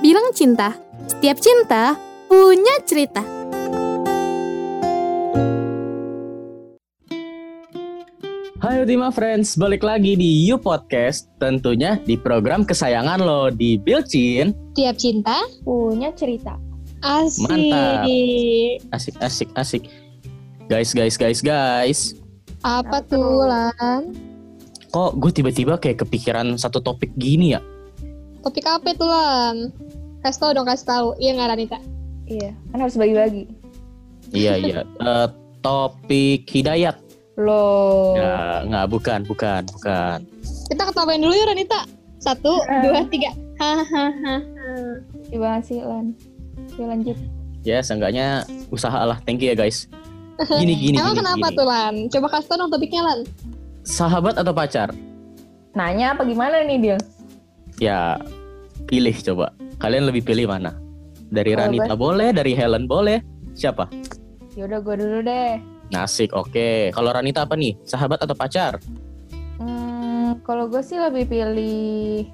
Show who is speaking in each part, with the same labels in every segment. Speaker 1: bilang cinta. Setiap cinta punya cerita.
Speaker 2: Hai Ultima Friends, balik lagi di You Podcast, tentunya di program kesayangan lo di Bilcin.
Speaker 3: Tiap cinta
Speaker 4: punya cerita.
Speaker 3: asik.
Speaker 2: Mantap. Asik, asik, asik. Guys, guys, guys, guys.
Speaker 3: Apa
Speaker 4: Apa
Speaker 3: tuh
Speaker 4: tuh?
Speaker 3: Lan?
Speaker 2: Kok gue tiba-tiba kayak kepikiran satu topik gini ya?
Speaker 3: Topik apa tuh Lan? Kasih tau dong, kasih tahu. Iya nggak Ranita?
Speaker 4: Iya, kan harus bagi-bagi.
Speaker 2: Iya, iya. Eh, topik hidayat.
Speaker 3: Oh.
Speaker 4: Loh.
Speaker 2: Ya, nggak, bukan, bukan, bukan.
Speaker 3: Kita ketawain dulu ya Ranita. Satu,
Speaker 4: Eh.
Speaker 3: dua, tiga. Hahaha.
Speaker 4: Iya banget sih, Lan. Yuk lanjut.
Speaker 2: Ya, seenggaknya usahalah. Thank you ya guys. Gini, gini,
Speaker 3: Emang
Speaker 2: gini,
Speaker 3: kenapa
Speaker 2: gini.
Speaker 3: tuh Lan? Coba kasih tau dong topiknya Lan.
Speaker 2: Sahabat atau pacar?
Speaker 4: Nanya apa gimana nih dia?
Speaker 2: Ya, pilih coba. Kalian lebih pilih mana? Dari
Speaker 4: Kalau
Speaker 2: Ranita boleh, dari Helen boleh. Siapa?
Speaker 4: Yaudah gue dulu deh.
Speaker 2: Nasik, oke. Kalau Ranita apa nih? Sahabat atau pacar?
Speaker 4: Hmm, kalau gue sih lebih pilih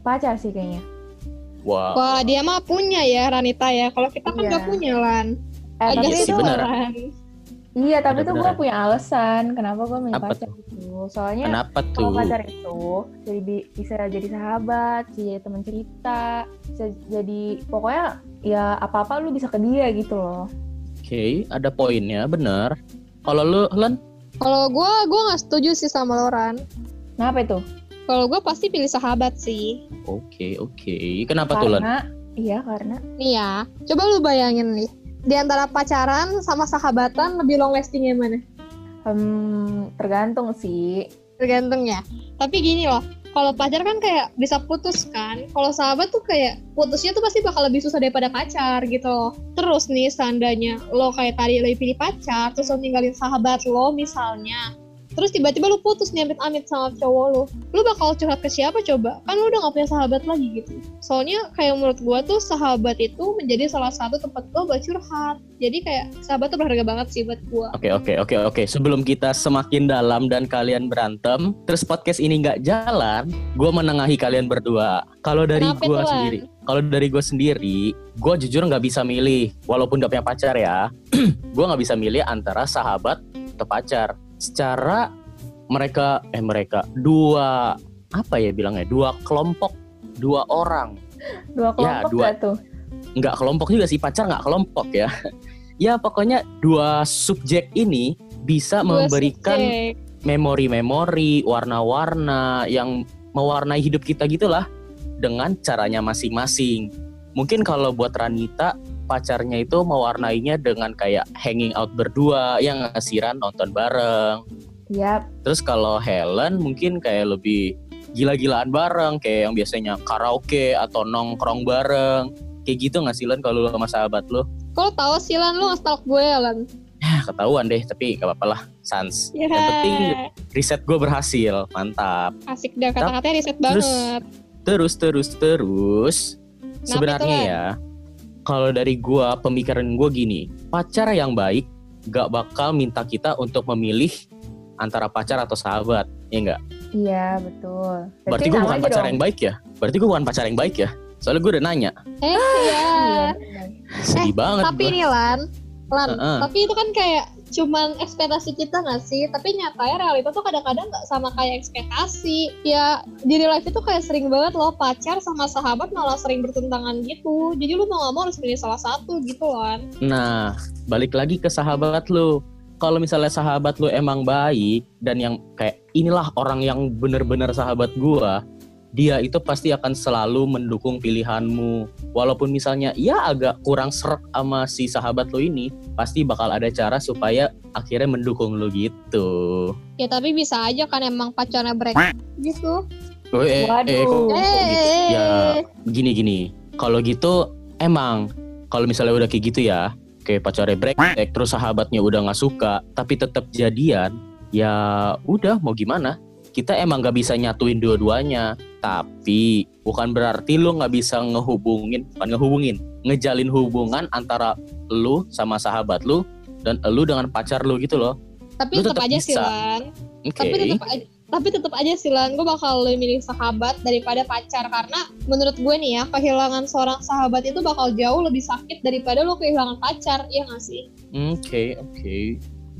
Speaker 4: pacar sih kayaknya.
Speaker 2: Wow.
Speaker 3: Wah, dia mah punya ya Ranita ya. Kalau kita kan
Speaker 4: Iya.
Speaker 3: nggak punya Lan.
Speaker 4: Eh,
Speaker 3: Agak
Speaker 4: tapi
Speaker 2: iya sih,
Speaker 4: itu,
Speaker 3: susah
Speaker 2: benar.
Speaker 3: Lan.
Speaker 4: iya, tapi tuh gue
Speaker 2: Benar-benar.
Speaker 4: punya alasan kenapa gue milih
Speaker 2: Apa
Speaker 4: pacar itu. Soalnya
Speaker 2: Kenapa
Speaker 4: kalau
Speaker 2: tuh?
Speaker 4: pacar itu jadi bi- bisa jadi sahabat, bisa jadi teman cerita, bisa jadi pokoknya ya apa-apa lu bisa ke dia gitu loh.
Speaker 2: Oke, ada poinnya, bener. Kalau lu, Helen?
Speaker 3: Kalau gue, gue nggak setuju sih sama Loran.
Speaker 4: Kenapa itu?
Speaker 3: Kalau gue pasti pilih sahabat sih.
Speaker 2: Oke, oke. Kenapa tuh, Len?
Speaker 4: karena iya karena
Speaker 3: Nih ya, coba lu bayangin nih. Di antara pacaran sama sahabatan lebih long lasting yang mana?
Speaker 4: hmm, tergantung sih
Speaker 3: Tergantung ya. Tapi gini loh, kalau pacar kan kayak bisa putus kan. Kalau sahabat tuh kayak putusnya tuh pasti bakal lebih susah daripada pacar gitu loh. Terus nih seandainya lo kayak tadi lebih pilih pacar, terus lo ninggalin sahabat lo misalnya. Terus tiba-tiba lu putus nih amit-amit sama cowok lu. Lu bakal curhat ke siapa coba? Kan lu udah gak punya sahabat lagi gitu. Soalnya kayak menurut gua tuh sahabat itu menjadi salah satu tempat gua buat curhat. Jadi kayak sahabat tuh berharga banget sih buat gua.
Speaker 2: Oke, oke, oke, oke. Sebelum kita semakin dalam dan kalian berantem, terus podcast ini nggak jalan, gue menengahi kalian berdua. Kalau dari
Speaker 3: Kenapa tuh,
Speaker 2: gue
Speaker 3: Len?
Speaker 2: sendiri, kalau dari gue sendiri, gue jujur nggak bisa milih, walaupun gak punya pacar ya. gue nggak bisa milih antara sahabat atau pacar. Secara mereka, eh mereka dua apa ya bilangnya, dua kelompok, dua orang
Speaker 4: dua
Speaker 2: Ya,
Speaker 4: kelompok
Speaker 2: dua.
Speaker 4: gak tuh
Speaker 2: nggak kelompok juga sih pacar nggak kelompok ya ya pokoknya dua subjek ini bisa
Speaker 3: Gua
Speaker 2: memberikan
Speaker 3: subjek.
Speaker 2: memori-memori warna-warna yang mewarnai hidup kita gitulah dengan caranya masing-masing mungkin kalau buat Ranita pacarnya itu mewarnainya dengan kayak hanging out berdua ya yang ngasiran nonton bareng
Speaker 4: Yap,
Speaker 2: terus kalau Helen mungkin kayak lebih gila-gilaan bareng kayak yang biasanya karaoke atau nongkrong bareng kayak gitu nggak sih Len kalau lu sama sahabat lu
Speaker 3: Kok lo tau sih Lan, lo nge-stalk gue ya Lan?
Speaker 2: Hah, ketahuan deh tapi gak apa-apa lah sans
Speaker 3: Ya,
Speaker 2: yang penting riset gue berhasil mantap
Speaker 3: asik dah kata-katanya riset banget.
Speaker 2: terus terus terus sebenarnya
Speaker 3: tuh, Len?
Speaker 2: ya kalau dari gua pemikiran gua gini pacar yang baik gak bakal minta kita untuk memilih antara pacar atau sahabat ya enggak
Speaker 4: iya betul.
Speaker 2: berarti gue bukan pacar yang baik ya berarti gue bukan pacar yang baik ya soalnya gue udah nanya
Speaker 3: Eh iya.
Speaker 2: sedih banget
Speaker 3: Tapi
Speaker 2: gua.
Speaker 3: nih Lan, Lan,
Speaker 2: Heeh.
Speaker 3: tapi itu kan kayak cuman ekspektasi kita gak sih? Tapi nyatanya realita tuh kadang-kadang gak sama kayak ekspektasi. Ya di real life itu kayak sering banget loh pacar sama sahabat malah sering bertentangan gitu. Jadi lu mau gak mau harus pilih salah satu gitu Lan.
Speaker 2: Nah, balik lagi ke sahabat lu. Kalau misalnya sahabat lu emang baik dan yang kayak inilah orang yang bener-bener sahabat gua, dia itu pasti akan selalu mendukung pilihanmu. Walaupun misalnya ya agak kurang serak sama si sahabat lu ini, pasti bakal ada cara supaya akhirnya mendukung lu gitu.
Speaker 3: Ya tapi bisa aja kan emang pacarnya break gitu.
Speaker 2: Oh, eh, eh, kok- kok
Speaker 4: Waduh.
Speaker 2: gitu?
Speaker 3: Eh,
Speaker 2: Ya, gini gini kalau gitu emang kalau misalnya udah kayak gitu ya kayak pacarnya break terus sahabatnya udah nggak suka tapi tetap jadian ya udah mau gimana kita emang nggak bisa nyatuin dua-duanya tapi bukan berarti lu nggak bisa ngehubungin bukan ngehubungin ngejalin hubungan antara lu sama sahabat lu dan lu dengan pacar lu gitu loh
Speaker 3: Tapi
Speaker 2: Lu
Speaker 3: tetap
Speaker 2: tetap
Speaker 3: aja sih
Speaker 2: bisa.
Speaker 3: Lan.
Speaker 2: oke
Speaker 3: Tapi tetap aja, tapi tetap aja sih Lan gue bakal lebih milih sahabat daripada pacar karena menurut gue nih ya kehilangan seorang sahabat itu bakal jauh lebih sakit daripada lo kehilangan pacar ya nggak sih
Speaker 2: Oke, oke.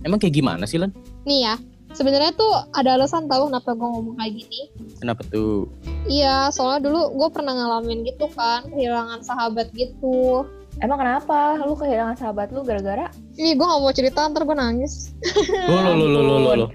Speaker 2: Emang kayak gimana sih, Lan?
Speaker 3: nih ya sebenarnya tuh ada alasan tahu kenapa gue ngomong kayak gini
Speaker 2: Kenapa tuh?
Speaker 3: iya soalnya dulu gue pernah ngalamin gitu kan kehilangan sahabat gitu
Speaker 4: Emang kenapa? Lu kehilangan sahabat lu gara-gara?
Speaker 3: Ih, gue gak mau cerita, ntar gue nangis.
Speaker 2: Lo, lo, lo, lo, lo, lo, lo.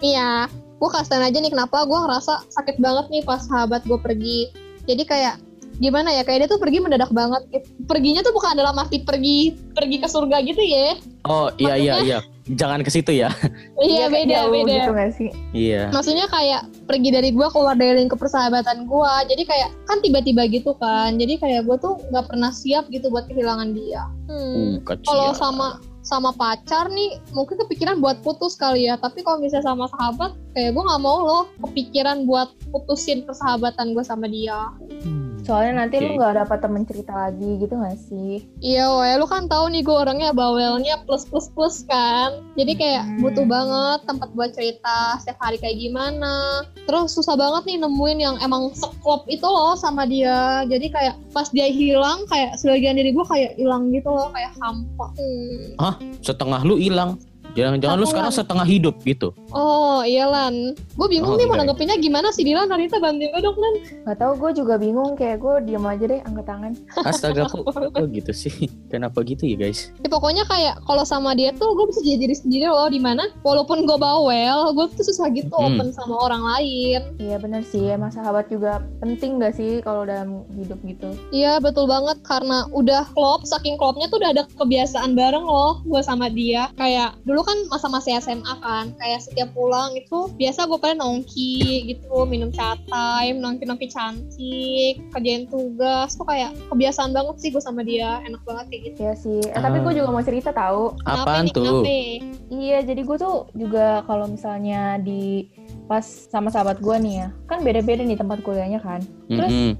Speaker 3: Iya, gue kasihan aja nih kenapa gue ngerasa sakit banget nih pas sahabat gue pergi. Jadi kayak gimana ya, kayak dia tuh pergi mendadak banget. gitu. Perginya tuh bukan dalam arti pergi pergi ke surga gitu ya.
Speaker 2: Oh, iya, iya, iya. Jangan ke situ ya.
Speaker 3: Iya
Speaker 4: kayak
Speaker 3: beda
Speaker 4: jauh
Speaker 3: beda.
Speaker 4: Gitu gak sih?
Speaker 2: Iya.
Speaker 3: Maksudnya kayak pergi dari gue keluar dari lingkup persahabatan gue. Jadi kayak kan tiba-tiba gitu kan. Jadi kayak gue tuh nggak pernah siap gitu buat kehilangan dia. Hmm.
Speaker 2: Uh, kasihan.
Speaker 3: Kalau sama sama pacar nih mungkin kepikiran buat putus kali ya tapi kalau misalnya sama sahabat kayak gue nggak mau loh kepikiran buat putusin persahabatan gue sama dia
Speaker 2: Hmm.
Speaker 4: Soalnya nanti lu
Speaker 2: Oke.
Speaker 4: gak dapat temen cerita lagi gitu gak sih?
Speaker 3: iya woy, lu kan tahu nih gue orangnya bawelnya plus plus plus kan jadi kayak
Speaker 4: Hmm.
Speaker 3: butuh banget tempat buat cerita setiap hari kayak gimana terus susah banget nih nemuin yang emang seklop itu loh sama dia jadi kayak pas dia hilang kayak sebagian diri gue kayak hilang gitu loh kayak hampa Hmm.
Speaker 2: setengah lu hilang. Jangan-jangan lu
Speaker 3: Satu
Speaker 2: sekarang
Speaker 3: ulang.
Speaker 2: setengah hidup gitu.
Speaker 3: Oh iya Lan, gue bingung
Speaker 2: Oh,
Speaker 3: nih mau
Speaker 2: iya.
Speaker 3: nanggepinnya gimana sih Dilan, Narita bantuin gue dong Lan
Speaker 4: Gak tau, gue juga bingung. Kayak gue diem aja deh, angkat tangan.
Speaker 2: Astaga kok, kok gitu sih? Kenapa gitu ya guys?
Speaker 3: ya, Pokoknya kayak kalau sama dia tuh gue bisa jadi diri sendiri loh Dimana walaupun gue bawel, gue tuh susah gitu
Speaker 2: Hmm.
Speaker 3: open sama orang lain
Speaker 4: Iya bener sih, emang sahabat juga penting gak sih kalau dalam hidup gitu?
Speaker 3: Iya betul banget karena udah klop, saking klopnya tuh udah ada kebiasaan bareng loh gue sama dia Kayak dulu kan masa-masa SMA kan, kayak setiap pulang itu biasa gue pada nongki gitu Minum catai, nongki-nongki cantik, kerjain tugas tuh kayak kebiasaan banget sih gue sama dia, enak banget kayak gitu
Speaker 4: Iya sih, eh,
Speaker 2: Ah.
Speaker 4: tapi gue juga mau cerita tahu.
Speaker 3: Kenapa
Speaker 2: Apaan
Speaker 3: nih,
Speaker 2: tuh?
Speaker 3: kenapa? ya?
Speaker 4: Iya, jadi gue tuh juga kalau misalnya di pas sama sahabat gue nih ya, kan beda-beda nih tempat kuliahnya kan. Terus-
Speaker 2: Mm-mm.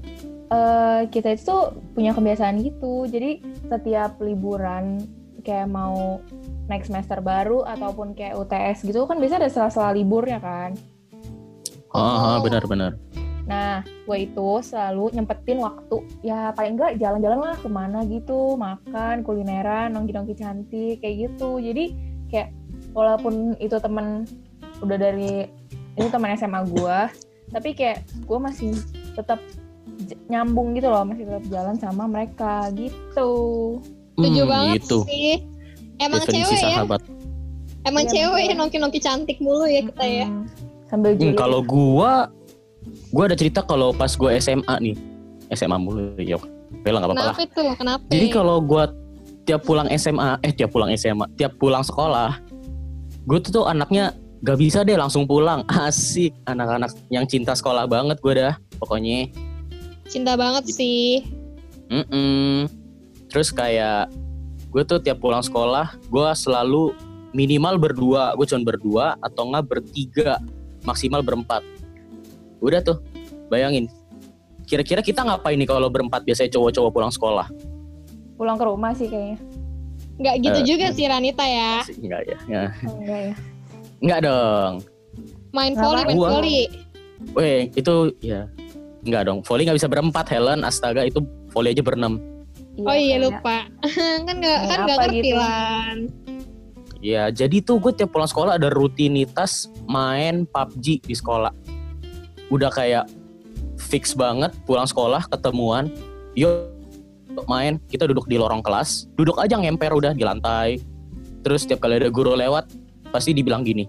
Speaker 4: eh kita itu tuh punya kebiasaan gitu. Jadi setiap liburan kayak mau naik semester baru ataupun kayak UTS gitu kan biasa ada sela-sela liburnya kan.
Speaker 2: Ah, ah, benar-benar.
Speaker 4: Nah, gue itu selalu nyempetin waktu ya paling enggak jalan-jalan lah kemana gitu, makan, kulineran, nongki-nongki cantik kayak gitu. Jadi kayak walaupun itu temen udah dari itu teman SMA gue, tapi kayak gue masih tetap j- nyambung gitu loh, masih tetap jalan sama mereka gitu.
Speaker 3: Setuju
Speaker 2: Hmm,
Speaker 3: banget
Speaker 2: Itu
Speaker 3: sih Emang
Speaker 2: definisi
Speaker 3: cewek ya,
Speaker 2: sahabat. Hmm,
Speaker 3: emang
Speaker 4: Iya,
Speaker 3: cewek
Speaker 4: betul.
Speaker 3: ya nongki-nongki cantik mulu ya kita ya
Speaker 4: Mm-mm. Sambil
Speaker 2: Hmm,
Speaker 4: julid.
Speaker 2: kalau gua, gua ada cerita kalau pas gua SMA nih, SMA mulu, ya oke lah nggak apa-apa lah.
Speaker 3: Kenapa tuh, kenapa? ya?
Speaker 2: Jadi kalau gua tiap pulang SMA, eh tiap pulang SMA, tiap pulang sekolah, gua tuh tuh anaknya gak bisa deh langsung pulang. Asik, anak-anak yang cinta sekolah banget gua dah, pokoknya.
Speaker 3: Cinta banget
Speaker 2: Gitu.
Speaker 3: sih
Speaker 2: Mm-mm. Terus kayak gue tuh tiap pulang sekolah, gue selalu minimal berdua, gue cuma berdua atau nggak bertiga, maksimal berempat. Udah tuh, bayangin. Kira-kira kita ngapain nih kalau berempat biasanya cowok-cowok pulang sekolah?
Speaker 4: pulang ke rumah sih kayaknya.
Speaker 3: Nggak gitu
Speaker 2: Eh,
Speaker 3: juga sih Ranita ya.
Speaker 2: Enggak ya, ya.
Speaker 4: Oh, enggak ya.
Speaker 2: Enggak dong.
Speaker 3: Main
Speaker 4: Nggak
Speaker 3: volley, main
Speaker 2: apa-apa.
Speaker 3: volley.
Speaker 2: Weh, itu ya. Enggak dong, volley nggak bisa berempat, Helen. Astaga, itu volley aja berenam.
Speaker 3: Oh iya
Speaker 4: kayaknya.
Speaker 3: lupa. kan nggak
Speaker 4: Main
Speaker 3: kan nggak
Speaker 4: apa
Speaker 3: ngerti
Speaker 4: gitu?
Speaker 3: Lan.
Speaker 2: Ya, jadi tuh gue tiap pulang sekolah ada rutinitas main PUBG di sekolah. Udah kayak fix banget pulang sekolah ketemuan, yuk yuk main. Kita duduk di lorong kelas, duduk aja ngemper udah di lantai. Terus tiap kali ada guru lewat, pasti dibilang gini.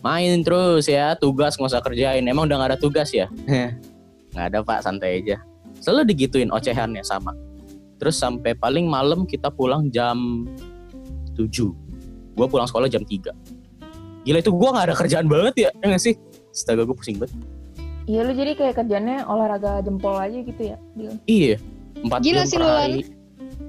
Speaker 2: Main terus ya, tugas nggak usah kerjain. Emang udah nggak ada tugas ya? Heh, Nggak ada pak, santai aja. Selalu digituin ocehannya sama. Terus sampai paling malam kita pulang jam 7 gue pulang sekolah jam 3 gila itu gue nggak ada kerjaan banget ya ya nggak sih Astaga gue pusing banget
Speaker 4: Iya lu jadi kayak kerjanya olahraga jempol aja gitu ya. Dil.
Speaker 2: iya empat
Speaker 3: Gila
Speaker 2: jam
Speaker 3: sih,
Speaker 2: per
Speaker 3: Lulan.
Speaker 2: hari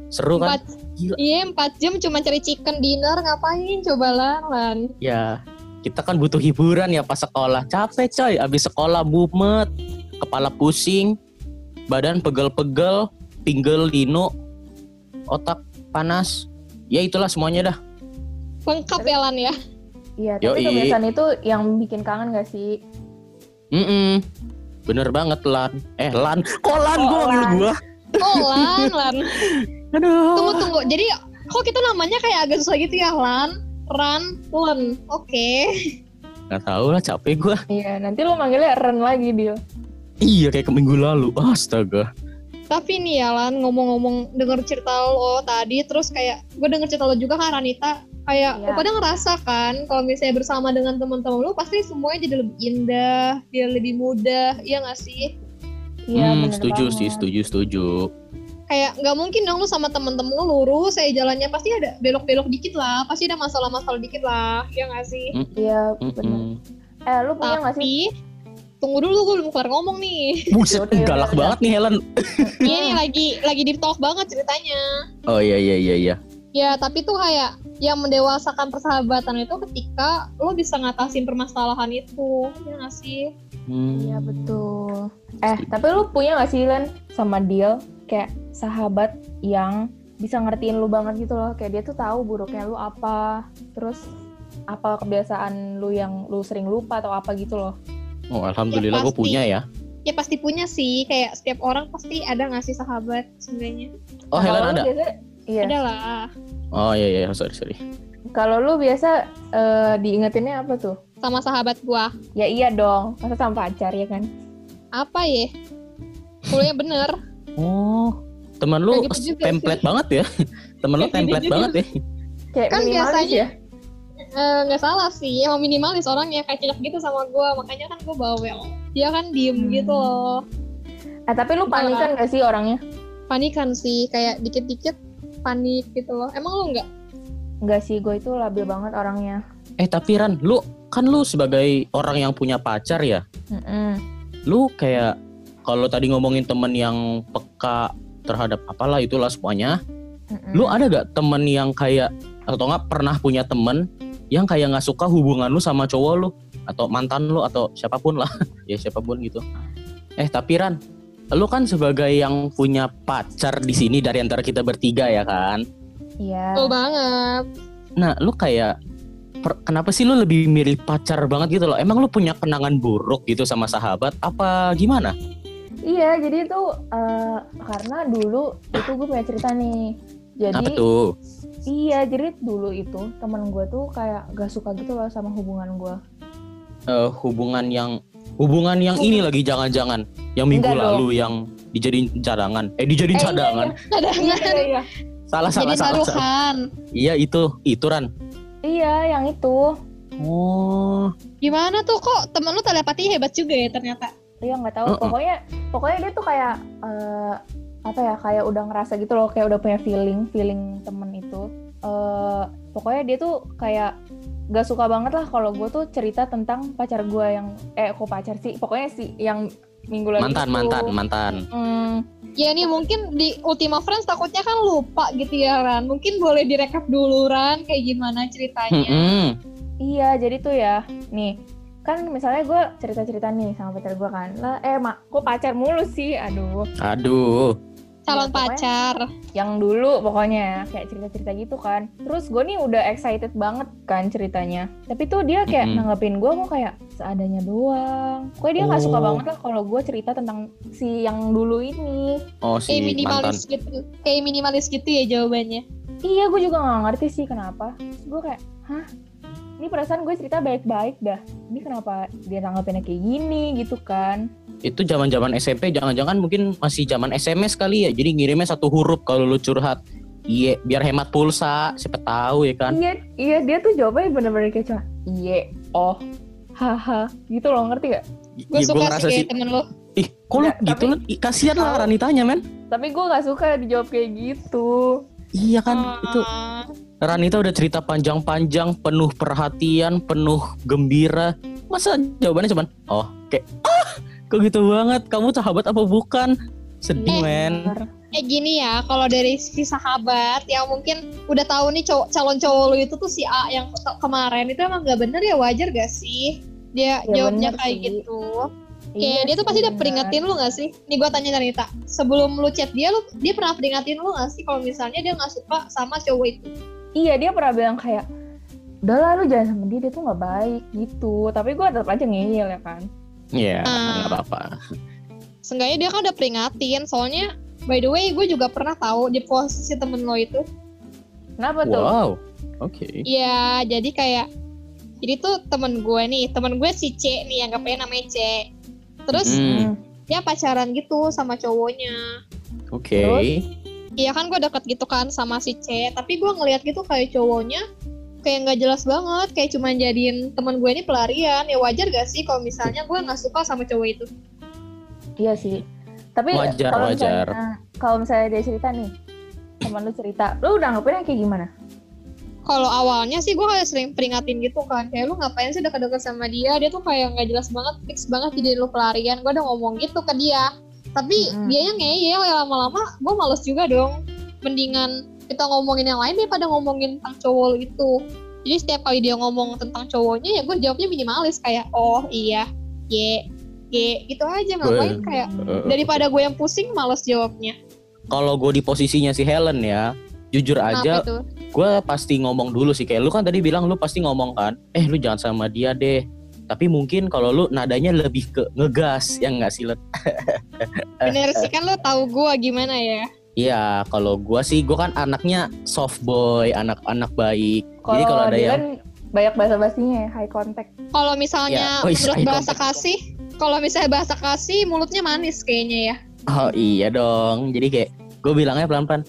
Speaker 2: seru kan
Speaker 3: Empat
Speaker 2: Gila.
Speaker 3: Iya empat jam cuma cari chicken dinner ngapain coba Lan, Lan.
Speaker 2: ya kita kan butuh hiburan ya pas sekolah capek coy abis sekolah bumet kepala pusing badan pegel-pegel pinggel lino otak panas ya itulah semuanya dah
Speaker 3: Lengkap ya Lan ya.
Speaker 4: Iya,
Speaker 2: Yoi.
Speaker 4: tapi kebiasaan itu yang bikin kangen gak sih?
Speaker 2: Mm-mm. Bener banget lan. Eh lan, kok lan
Speaker 4: Kok
Speaker 2: gue manggil
Speaker 4: lan?
Speaker 2: gue.
Speaker 3: Oh, Lan, Lan.
Speaker 2: Aduh.
Speaker 3: Tunggu, tunggu. Jadi, kok kita namanya kayak agak susah gitu ya? Lan, Ran, Len. Oke.
Speaker 2: Gak tau lah capek gue.
Speaker 4: Iya, nanti lo manggilnya Ren lagi, Bil.
Speaker 2: Iya kayak ke minggu lalu. Astaga.
Speaker 3: Tapi nih ya Lan, ngomong-ngomong denger cerita lo tadi, terus kayak gue denger cerita lo juga kan Ranita, kayak
Speaker 4: Iya.
Speaker 3: lo pada ngerasa kan kalau misalnya bersama dengan teman-teman lo pasti semuanya jadi lebih indah, jadi lebih mudah, iya gak sih?
Speaker 4: Iya,
Speaker 2: Hmm,
Speaker 4: bener
Speaker 2: setuju
Speaker 4: banget.
Speaker 2: sih, setuju, setuju.
Speaker 3: Kayak nggak mungkin dong lo sama temen-temen lo lurus, saya jalannya pasti ada belok-belok dikit lah, pasti ada masalah-masalah dikit lah, iya gak sih?
Speaker 4: Iya, bener.
Speaker 2: Mm-mm.
Speaker 4: Eh, lu punya nggak sih?
Speaker 3: Tapi, tunggu dulu gue belum keluar ngomong nih.
Speaker 2: Buset,
Speaker 4: Yaudah,
Speaker 2: galak
Speaker 4: yaudah.
Speaker 2: banget nih Helen.
Speaker 3: Iya nih lagi lagi deep talk banget ceritanya.
Speaker 2: Oh iya iya iya iya.
Speaker 3: Ya, tapi tuh kayak yang mendewasakan persahabatan itu ketika lo bisa ngatasin permasalahan itu, ya nggak sih?
Speaker 4: Iya, betul. Eh, tapi lu punya nggak sih, Len, sama Dil? Kayak sahabat yang bisa ngertiin lu banget gitu loh. Kayak dia tuh tahu buruknya lu apa. Terus apa kebiasaan lu yang lu sering lupa atau apa gitu loh.
Speaker 2: Oh alhamdulillah
Speaker 3: Ya,
Speaker 2: gue
Speaker 3: pasti.
Speaker 2: punya ya.
Speaker 3: Ya pasti punya sih, kayak setiap orang pasti ada nggak sih sahabat sebenarnya.
Speaker 2: Oh
Speaker 4: Nah,
Speaker 2: Helen
Speaker 4: kalau lu
Speaker 2: ada.
Speaker 4: biasa- Iya.
Speaker 3: Ada lah,
Speaker 2: Oh iya iya sorry sorry.
Speaker 4: Kalau lu biasa eh, diingetinnya apa tuh?
Speaker 3: sama sahabat gua.
Speaker 4: Ya iya dong. Masa sama pacar ya kan?
Speaker 3: Apa ya? Kuliah yang bener.
Speaker 2: Oh teman lu
Speaker 3: Kayak gitu juga
Speaker 2: template banget ya. Temen lu
Speaker 3: Kayak gitu
Speaker 2: template
Speaker 3: juga.
Speaker 2: banget ya.
Speaker 4: Kayak
Speaker 3: Kan
Speaker 4: minimalis
Speaker 3: biasanya-
Speaker 4: ya?
Speaker 3: Eh, Nggak salah sih, emang minimalis orangnya kayak cocok gitu sama gua, makanya kan gua bawel. Dia kan diem
Speaker 4: Hmm.
Speaker 3: gitu loh.
Speaker 4: Eh, tapi lu panikan gak sih orangnya?
Speaker 3: Panikan kan sih, kayak dikit-dikit panik gitu loh. Emang lo
Speaker 2: Iya.
Speaker 3: nggak?
Speaker 4: Enggak sih, gue itu labil banget orangnya.
Speaker 2: Eh tapi Ran, lu kan lu sebagai orang yang punya pacar ya,
Speaker 4: Mm-mm.
Speaker 2: lu kayak kalau tadi ngomongin temen yang peka terhadap apalah itulah semuanya,
Speaker 4: Mm-mm.
Speaker 2: lu ada gak temen yang kayak atau nggak pernah punya temen yang kayak nggak suka hubungan lu sama cowok lu atau mantan lu atau siapapun lah ya siapapun gitu eh tapi Ran lu kan sebagai yang punya pacar di sini dari antara kita bertiga ya kan
Speaker 4: Iya.
Speaker 3: Betul banget.
Speaker 2: nah lu kayak per- kenapa sih lu lebih mirip pacar banget gitu loh emang lu punya kenangan buruk gitu sama sahabat apa gimana
Speaker 4: Iya, jadi itu eh, karena dulu itu gue punya cerita nih. Jadi
Speaker 2: apa tuh
Speaker 4: iya, jadi dulu itu temen gue tuh kayak gak suka gitu loh sama hubungan gue.
Speaker 2: Eh, hubungan yang hubungan yang ini lagi jangan-jangan yang minggu
Speaker 4: Enggak dong.
Speaker 2: lalu yang dijadiin cadangan eh dijadiin
Speaker 4: Eh, iya,
Speaker 2: cadangan
Speaker 4: Iya,
Speaker 3: Cadangan.
Speaker 4: iya, iya.
Speaker 2: salah salah
Speaker 3: Jadi
Speaker 2: salah, salah.
Speaker 3: taruhan.
Speaker 2: iya itu itu ran
Speaker 4: Iya, yang itu.
Speaker 2: oh
Speaker 3: Gimana tuh kok temen lu telepati hebat juga ya ternyata?
Speaker 4: Iya nggak tahu.
Speaker 2: Mm-mm.
Speaker 4: Pokoknya pokoknya dia tuh kayak eh, apa ya? Kayak udah ngerasa gitu loh, kayak udah punya feeling, feeling temen itu. Eh, pokoknya dia tuh kayak gak suka banget lah kalau gue tuh cerita tentang pacar gue yang eh kok pacar sih? Pokoknya sih yang minggu lalu.
Speaker 2: mantan
Speaker 4: itu.
Speaker 2: mantan mantan
Speaker 4: Hmm,
Speaker 3: Ya ini mungkin di Ultima Friends takutnya kan lupa gitu ya Ran. Mungkin boleh direkap dulu Ran kayak gimana ceritanya.
Speaker 2: Mm-mm.
Speaker 4: Iya, jadi tuh ya, nih kan misalnya gue cerita-cerita nih sama pacar gue kan, lah eh mak, kok pacar mulu sih, aduh,
Speaker 2: aduh
Speaker 3: Calon
Speaker 4: Iya, pokoknya.
Speaker 3: pacar.
Speaker 4: yang dulu pokoknya kayak cerita-cerita gitu kan. Terus gue nih udah excited banget kan ceritanya, tapi tuh dia kayak
Speaker 2: Mm-mm.
Speaker 4: nanggepin gue kok kayak seadanya doang. Pokoknya dia nggak suka
Speaker 2: Oh.
Speaker 4: banget lah kalau gue cerita tentang si yang dulu ini.
Speaker 2: oh
Speaker 3: Kayak
Speaker 2: si
Speaker 3: Eh,
Speaker 2: mantan
Speaker 3: minimalis gitu. Kayak minimalis gitu ya jawabannya.
Speaker 4: Iya, gue juga nggak ngerti sih kenapa. Terus gue kayak, hah? Ini perasaan gue cerita baik-baik dah. Ini kenapa dia nanggepinnya kayak gini gitu kan?
Speaker 2: itu zaman zaman SMP jangan-jangan mungkin masih zaman SMS kali ya jadi ngirimnya satu huruf kalau lu curhat iya biar hemat pulsa siapa tahu ya kan
Speaker 4: Iya, iya dia tuh jawabannya bener-bener kayak cuma iya, oh, haha, gitu loh ngerti gak?
Speaker 3: Gue
Speaker 2: Iya, gua
Speaker 3: suka
Speaker 2: ngerasa
Speaker 3: sih
Speaker 2: sih
Speaker 3: kayak temen lu.
Speaker 2: ih kok lu
Speaker 4: Nggak,
Speaker 2: gitu
Speaker 4: tapi-
Speaker 2: Lan? Ih, kasihan lah
Speaker 4: Kalau-
Speaker 2: Ranitanya men
Speaker 4: Tapi gue gak suka dijawab kayak gitu.
Speaker 2: iya kan itu
Speaker 3: Ah.
Speaker 2: Ranita udah cerita panjang-panjang, penuh perhatian, penuh gembira. Masa jawabannya cuman, oh, kayak, ah, kok gitu banget? Kamu sahabat apa bukan? Sedih,
Speaker 3: Eh.
Speaker 2: men.
Speaker 3: Eh gini ya, kalau dari si sahabat yang mungkin udah tahu nih cowok- calon cowok lu itu tuh si A yang ke- kemarin itu emang gak bener ya wajar gak sih? Dia
Speaker 4: Ya,
Speaker 3: jawabnya
Speaker 4: bener
Speaker 3: kayak
Speaker 4: sih.
Speaker 3: gitu.
Speaker 4: Iya
Speaker 3: Kayak dia tuh
Speaker 4: sih,
Speaker 3: pasti udah
Speaker 4: bener.
Speaker 3: peringatin lu gak sih? Nih gue tanya Narita, sebelum lu chat dia, lu dia pernah peringatin lu gak sih kalau misalnya dia gak suka sama cowok itu?
Speaker 4: Iya, dia pernah bilang kayak, udah lah lu jangan sama dia, dia tuh gak baik gitu. Tapi gue tetap aja ngeyel ya kan.
Speaker 3: Ah.
Speaker 2: Iya, nggak apa-apa.
Speaker 3: Seenggaknya dia kan udah peringatin. Soalnya by the way gue juga pernah tahu di posisi temen lo itu.
Speaker 4: Kenapa tuh?
Speaker 2: Wow. Oke.
Speaker 3: Iya jadi kayak jadi tuh temen gue nih temen gue si C nih yang anggapnya namanya C. Terus
Speaker 2: Hmm,
Speaker 3: dia pacaran gitu sama cowoknya.
Speaker 2: Oke.
Speaker 3: Iya kan gue deket gitu kan sama si C. Tapi gue ngeliat gitu kayak cowoknya kayak nggak jelas banget kayak cuman jadiin temen gue ini pelarian ya wajar gak sih kalau misalnya gue nggak suka sama cowok itu
Speaker 4: Iya sih. Tapi
Speaker 2: Wajar,
Speaker 4: kalau
Speaker 2: wajar.
Speaker 4: misalnya kalau misalnya dia cerita nih, teman lu cerita, lu udah ngapain kayak gimana?
Speaker 3: kalau awalnya sih gue kayak sering peringatin gitu kan kayak lu ngapain sih deket-deket sama dia dia tuh kayak nggak jelas banget fix banget jadi lu pelarian gue udah ngomong gitu ke dia tapi
Speaker 4: Mm-mm.
Speaker 3: dia yang ngeyel ya lama-lama gue males juga dong mendingan kita ngomongin yang lain daripada ngomongin tentang cowok lu itu jadi setiap kali dia ngomong tentang cowoknya ya gue jawabnya minimalis kayak oh iya ye ye gitu aja ngapain
Speaker 2: Weh.
Speaker 3: kayak
Speaker 2: Eh,
Speaker 3: daripada gue yang pusing males jawabnya
Speaker 2: Kalau gue di posisinya si Helen ya, jujur aja
Speaker 3: kenapa tuh
Speaker 2: gue pasti ngomong dulu sih kayak lu kan tadi bilang lu pasti ngomong kan eh lu jangan sama dia deh tapi mungkin kalau lu nadanya lebih ke ngegas yang nggak silet eh,
Speaker 3: bener sih kan lo tahu gue gimana ya
Speaker 2: Iya, kalau gue sih gue kan anaknya soft boy, anak-anak baik. Jadi kalau
Speaker 4: Kalau
Speaker 2: ada
Speaker 4: dia
Speaker 2: yang
Speaker 4: kan banyak bahasa basinya ya, high contact.
Speaker 3: Kalau misalnya
Speaker 2: Ya, wih,
Speaker 3: menurut
Speaker 2: eye
Speaker 3: bahasa
Speaker 2: contact.
Speaker 3: kasih, kalau misalnya bahasa kasih mulutnya manis kayaknya ya.
Speaker 2: oh iya dong. Jadi kayak gue bilangnya pelan-pelan.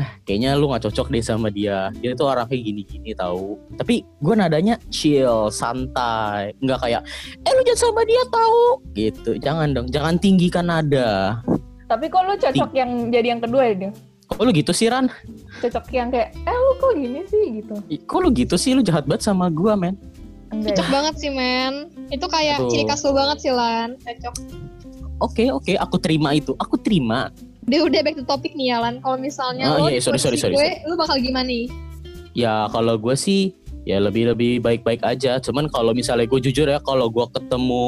Speaker 2: Ah, kayaknya lu nggak cocok deh sama dia. Dia tuh orang kayak gini-gini tahu. Tapi gue nadanya chill, santai, nggak kayak eh lu jangan sama dia tahu. Gitu. Jangan dong, jangan tinggikan nada.
Speaker 4: Tapi kok lu cocok yang jadi yang kedua ya, Dil?
Speaker 2: Kok lu gitu sih Ran?
Speaker 4: Cocok yang kayak, eh lu kok gini sih gitu.
Speaker 2: Ih, Kok lu gitu sih? Lu jahat banget sama gue, men.
Speaker 4: Enggak
Speaker 3: Cocok banget sih men. Itu kayak
Speaker 2: Aduh.
Speaker 3: ciri khas lo banget sih Lan. Cocok.
Speaker 2: Oke, oke, aku terima itu. Aku terima.
Speaker 3: Dia udah back to topic nih ya Lan. Kalau misalnya
Speaker 2: Ah,
Speaker 3: lo di
Speaker 2: iya, sorry, sorry,
Speaker 3: posisi
Speaker 2: sorry,
Speaker 3: gue, lo bakal gimana nih?
Speaker 2: Ya kalau gue sih ya lebih lebih baik baik aja. Cuman kalau misalnya gue jujur ya kalau gue ketemu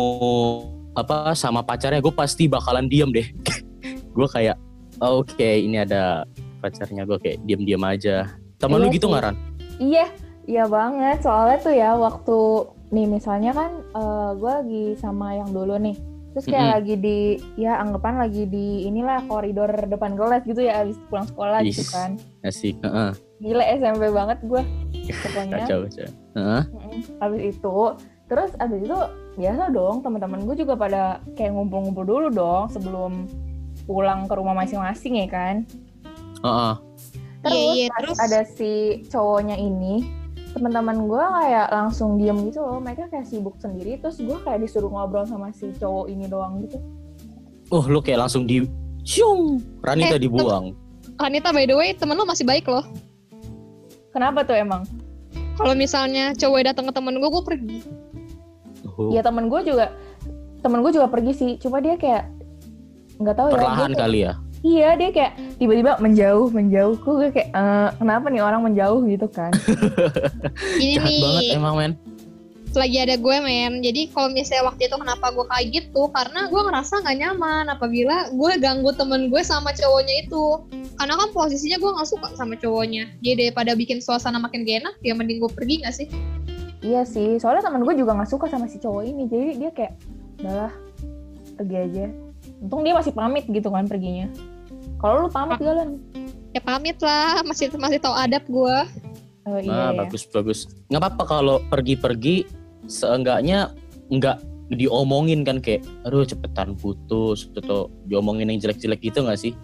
Speaker 2: apa sama pacarnya gue pasti bakalan diem deh. gue kayak "Oh, oke ini ada pacarnya gue kayak diem diem aja. Temen lu
Speaker 4: Iya
Speaker 2: gitu
Speaker 4: sih.
Speaker 2: nggak Ran?
Speaker 4: Iya, iya banget. Soalnya tuh ya waktu nih misalnya kan eh, gue lagi sama yang dulu nih. Terus kayak
Speaker 2: Mm-mm.
Speaker 4: lagi di ya anggapan lagi di inilah koridor depan kelas gitu ya abis pulang sekolah gitu
Speaker 2: Is.
Speaker 4: kan.
Speaker 2: Asik. Heeh,
Speaker 4: Gila SMP banget gue. Pokoknya
Speaker 2: kacau kacau. Heeh.
Speaker 4: Mm-mm. abis itu terus abis itu biasa dong teman-teman gue juga pada kayak ngumpul-ngumpul dulu dong sebelum pulang ke rumah masing-masing ya kan
Speaker 2: heeh.
Speaker 4: terus,
Speaker 3: Iya, iya,
Speaker 4: pas
Speaker 3: terus?
Speaker 4: ada si cowoknya ini teman-teman gue kayak langsung diem gitu loh mereka kayak sibuk sendiri terus gue kayak disuruh ngobrol sama si cowok ini doang gitu
Speaker 2: Oh lu kayak langsung di Syung, Ranita
Speaker 3: Eh,
Speaker 2: dibuang.
Speaker 3: Anita by the way temen lo masih baik loh.
Speaker 4: kenapa tuh emang
Speaker 3: Kalau misalnya cowok datang ke temen gue, gue pergi.
Speaker 2: Oh,
Speaker 4: ya temen gue juga temen gue juga pergi sih cuma dia kayak nggak tahu ya dia
Speaker 2: perlahan
Speaker 4: kayak-
Speaker 2: kali ya.
Speaker 4: Iya dia kayak tiba-tiba menjauh menjauh, gue kayak "Eh, kenapa nih orang menjauh gitu kan?
Speaker 3: Ini
Speaker 2: Jahat
Speaker 3: nih,
Speaker 2: banget emang men.
Speaker 3: lagi ada gue men. Jadi kalau misalnya waktu itu kenapa gue kayak gitu, karena gue ngerasa nggak nyaman apabila gue ganggu temen gue sama cowoknya itu. Karena kan posisinya gue nggak suka sama cowoknya. Jadi daripada bikin suasana makin gak enak, ya mending gue pergi nggak sih?
Speaker 4: iya sih, soalnya temen gue juga nggak suka sama si cowok ini, jadi dia kayak udahlah pergi aja. Untung dia masih pamit gitu kan perginya. Kalau lu pamit gak lan?
Speaker 3: Ya pamit lah, masih masih tahu adab gue.
Speaker 4: Oh, iya,
Speaker 2: Nah,
Speaker 4: iya.
Speaker 2: bagus bagus. Nggak apa-apa kalau pergi-pergi seenggaknya nggak diomongin kan kayak aduh cepetan putus atau diomongin yang jelek-jelek gitu nggak sih?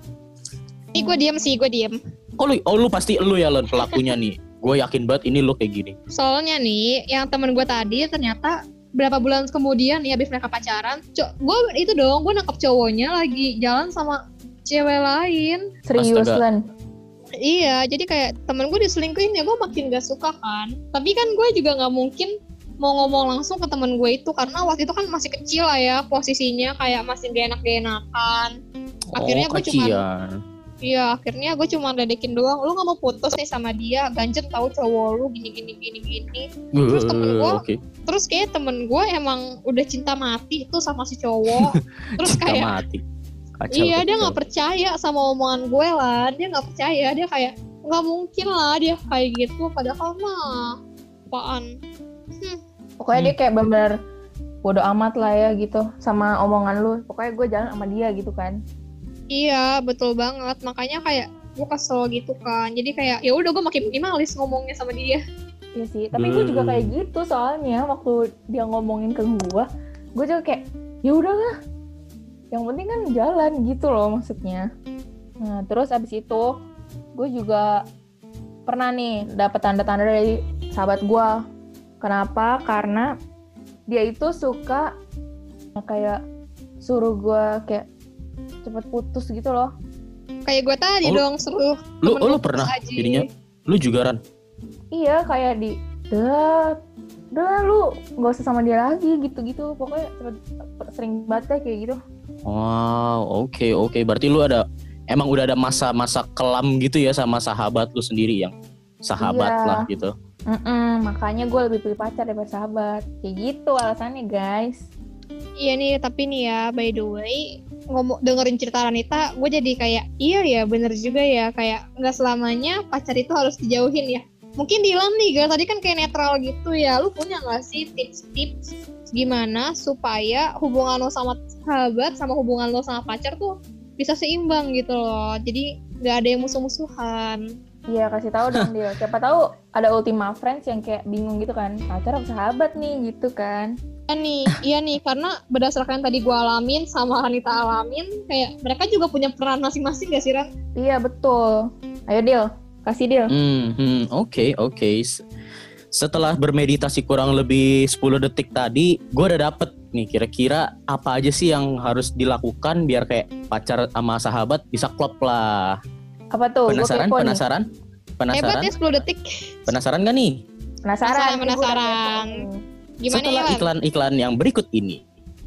Speaker 3: Ini gue diem sih, gue diem.
Speaker 2: Oh lu, oh, lu pasti lu ya Lon pelakunya nih. Gue yakin banget ini lu kayak gini.
Speaker 3: Soalnya nih, yang temen gue tadi ternyata berapa bulan kemudian ya abis mereka pacaran, co- gue itu dong, gue nangkep cowoknya lagi jalan sama cewek lain.
Speaker 4: Serius
Speaker 2: Astaga.
Speaker 4: lan?
Speaker 3: Iya, jadi kayak temen gue diselingkuhin ya gue makin gak suka kan. Tapi kan gue juga nggak mungkin mau ngomong langsung ke temen gue itu karena waktu itu kan masih kecil lah ya posisinya kayak masih gak enak enakan. Akhirnya
Speaker 2: oh,
Speaker 3: gue cuman-
Speaker 2: kasihan.
Speaker 3: Iya, akhirnya gue cuma dedekin doang. Lu nggak mau putus nih sama dia, ganjen tahu cowok lu gini gini gini gini. Terus temen
Speaker 2: Eh,
Speaker 3: gua-
Speaker 2: Oke.
Speaker 3: Terus kayak temen gue emang udah cinta mati itu sama si cowok. Terus
Speaker 2: Cinta
Speaker 3: kayak
Speaker 2: mati. Kacau,
Speaker 3: Iya, dia
Speaker 2: kacau.
Speaker 3: nggak percaya sama omongan gue lah. Dia nggak percaya. Dia kayak nggak mungkin lah dia kayak gitu. Padahal mah apaan?
Speaker 4: Pokoknya dia kayak bener bodo amat lah ya gitu sama omongan lu pokoknya gue jalan sama dia gitu kan
Speaker 3: Iya, betul banget. Makanya kayak gue kesel gitu kan. Jadi kayak ya udah gue makin minimalis ngomongnya sama dia.
Speaker 4: Iya sih, tapi gue juga
Speaker 2: Hmm.
Speaker 4: kayak gitu soalnya waktu dia ngomongin ke gue, gue juga kayak ya udahlah. Yang penting kan jalan gitu loh maksudnya. Nah, terus abis itu gue juga pernah nih dapet tanda-tanda dari sahabat gue. Kenapa? Karena dia itu suka kayak suruh gue kayak cepet putus gitu loh.
Speaker 3: Kayak gue tadi
Speaker 2: Oh.
Speaker 3: dong seru.
Speaker 2: Lu,
Speaker 3: temen
Speaker 2: oh, lu
Speaker 3: putus
Speaker 2: pernah
Speaker 3: aja.
Speaker 2: jadinya? Lu juga Ran?
Speaker 4: Iya, kayak di udah udah lu nggak usah sama dia lagi gitu-gitu pokoknya cepet- sering banget deh kayak gitu
Speaker 2: Wow, oke oke. Berarti lu ada emang udah ada masa-masa kelam gitu ya sama sahabat lu sendiri yang sahabat
Speaker 4: Iya.
Speaker 2: lah gitu.
Speaker 4: Mm-mm, makanya gue lebih pilih pacar daripada sahabat kayak gitu alasannya guys
Speaker 3: Iya nih, tapi nih ya by the way ngomong dengerin cerita Ranita, gue jadi kayak iya ya bener juga ya kayak nggak selamanya pacar itu harus dijauhin ya. Mungkin Dilan nih, guys tadi kan kayak netral gitu ya. Lu punya nggak sih tips-tips gimana supaya hubungan lo sama sahabat sama hubungan lo sama pacar tuh bisa seimbang gitu loh. Jadi nggak ada yang musuh-musuhan.
Speaker 4: iya kasih tahu dong dia siapa tahu ada ultima friends yang kayak bingung gitu kan pacar apa sahabat nih gitu kan
Speaker 3: Iya nih, iya nih karena berdasarkan tadi gue alamin sama Ranita alamin kayak mereka juga punya peran masing-masing gak sih Ran?
Speaker 4: iya betul ayo deal kasih deal
Speaker 2: Hmm, hmm, oke oke. S- Setelah bermeditasi kurang lebih 10 detik tadi, gue udah dapet nih kira-kira apa aja sih yang harus dilakukan biar kayak pacar sama sahabat bisa klop lah.
Speaker 4: apa tuh Gua
Speaker 2: Penasaran?
Speaker 4: kepo nih.
Speaker 2: Penasaran? Penasaran?
Speaker 3: Hebat ya 10 detik.
Speaker 2: Penasaran gak nih?
Speaker 4: penasaran
Speaker 3: Penasaran,
Speaker 4: Ih, gua udah kepo
Speaker 3: penasaran.
Speaker 4: nih.
Speaker 3: Gimana
Speaker 2: Setelah Nah,
Speaker 3: ya?
Speaker 2: iklan-iklan yang berikut ini,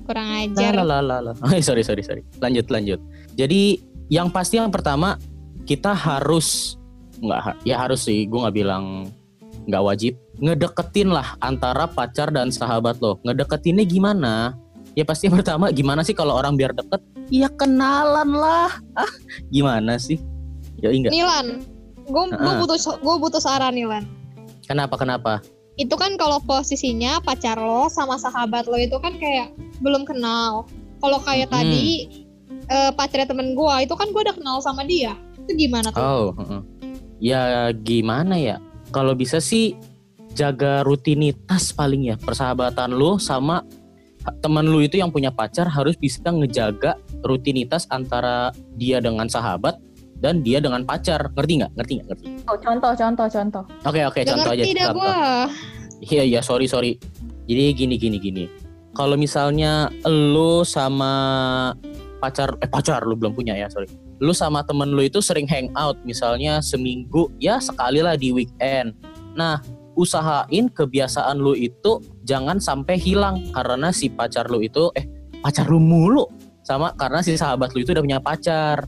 Speaker 3: Kurang ajar.
Speaker 2: La la la la. la. sorry sorry sorry. Lanjut lanjut. Jadi yang pasti yang pertama kita harus nggak ha- ya harus sih gue nggak bilang nggak wajib ngedeketin lah antara pacar dan sahabat lo. Ngedeketinnya gimana? Ya pasti yang pertama gimana sih kalau orang biar deket? Ya kenalan lah. Ah gimana sih? Ya enggak.
Speaker 3: Nilan, gue
Speaker 2: Heeh.
Speaker 3: butuh gue butuh saran Nilan.
Speaker 2: Kenapa kenapa?
Speaker 3: Itu kan kalau posisinya pacar lo sama sahabat lo itu kan kayak belum kenal. Kalau kayak
Speaker 2: Hmm.
Speaker 3: tadi eh, pacarnya temen gue itu kan gue udah kenal sama dia. Itu gimana tuh?
Speaker 2: Oh, heeh. ya gimana ya? Kalau bisa sih jaga rutinitas paling ya persahabatan lu sama teman lu itu yang punya pacar harus bisa ngejaga rutinitas antara dia dengan sahabat dan dia dengan pacar. Ngerti nggak? Ngerti nggak? Ngerti.
Speaker 4: Oh, contoh contoh contoh
Speaker 2: Oke oke
Speaker 3: Gak
Speaker 2: contoh aja.
Speaker 3: ngerti dah
Speaker 2: contoh.
Speaker 3: gue.
Speaker 2: Iya iya sorry sorry. Jadi gini gini gini. Kalau misalnya lu sama pacar eh pacar lu belum punya ya sorry. Lu sama temen lu itu sering hangout misalnya seminggu ya sekali lah di weekend. Nah usahain kebiasaan lu itu jangan sampai hilang karena si pacar lu itu eh pacar lu mulu sama karena si sahabat lu itu udah punya pacar.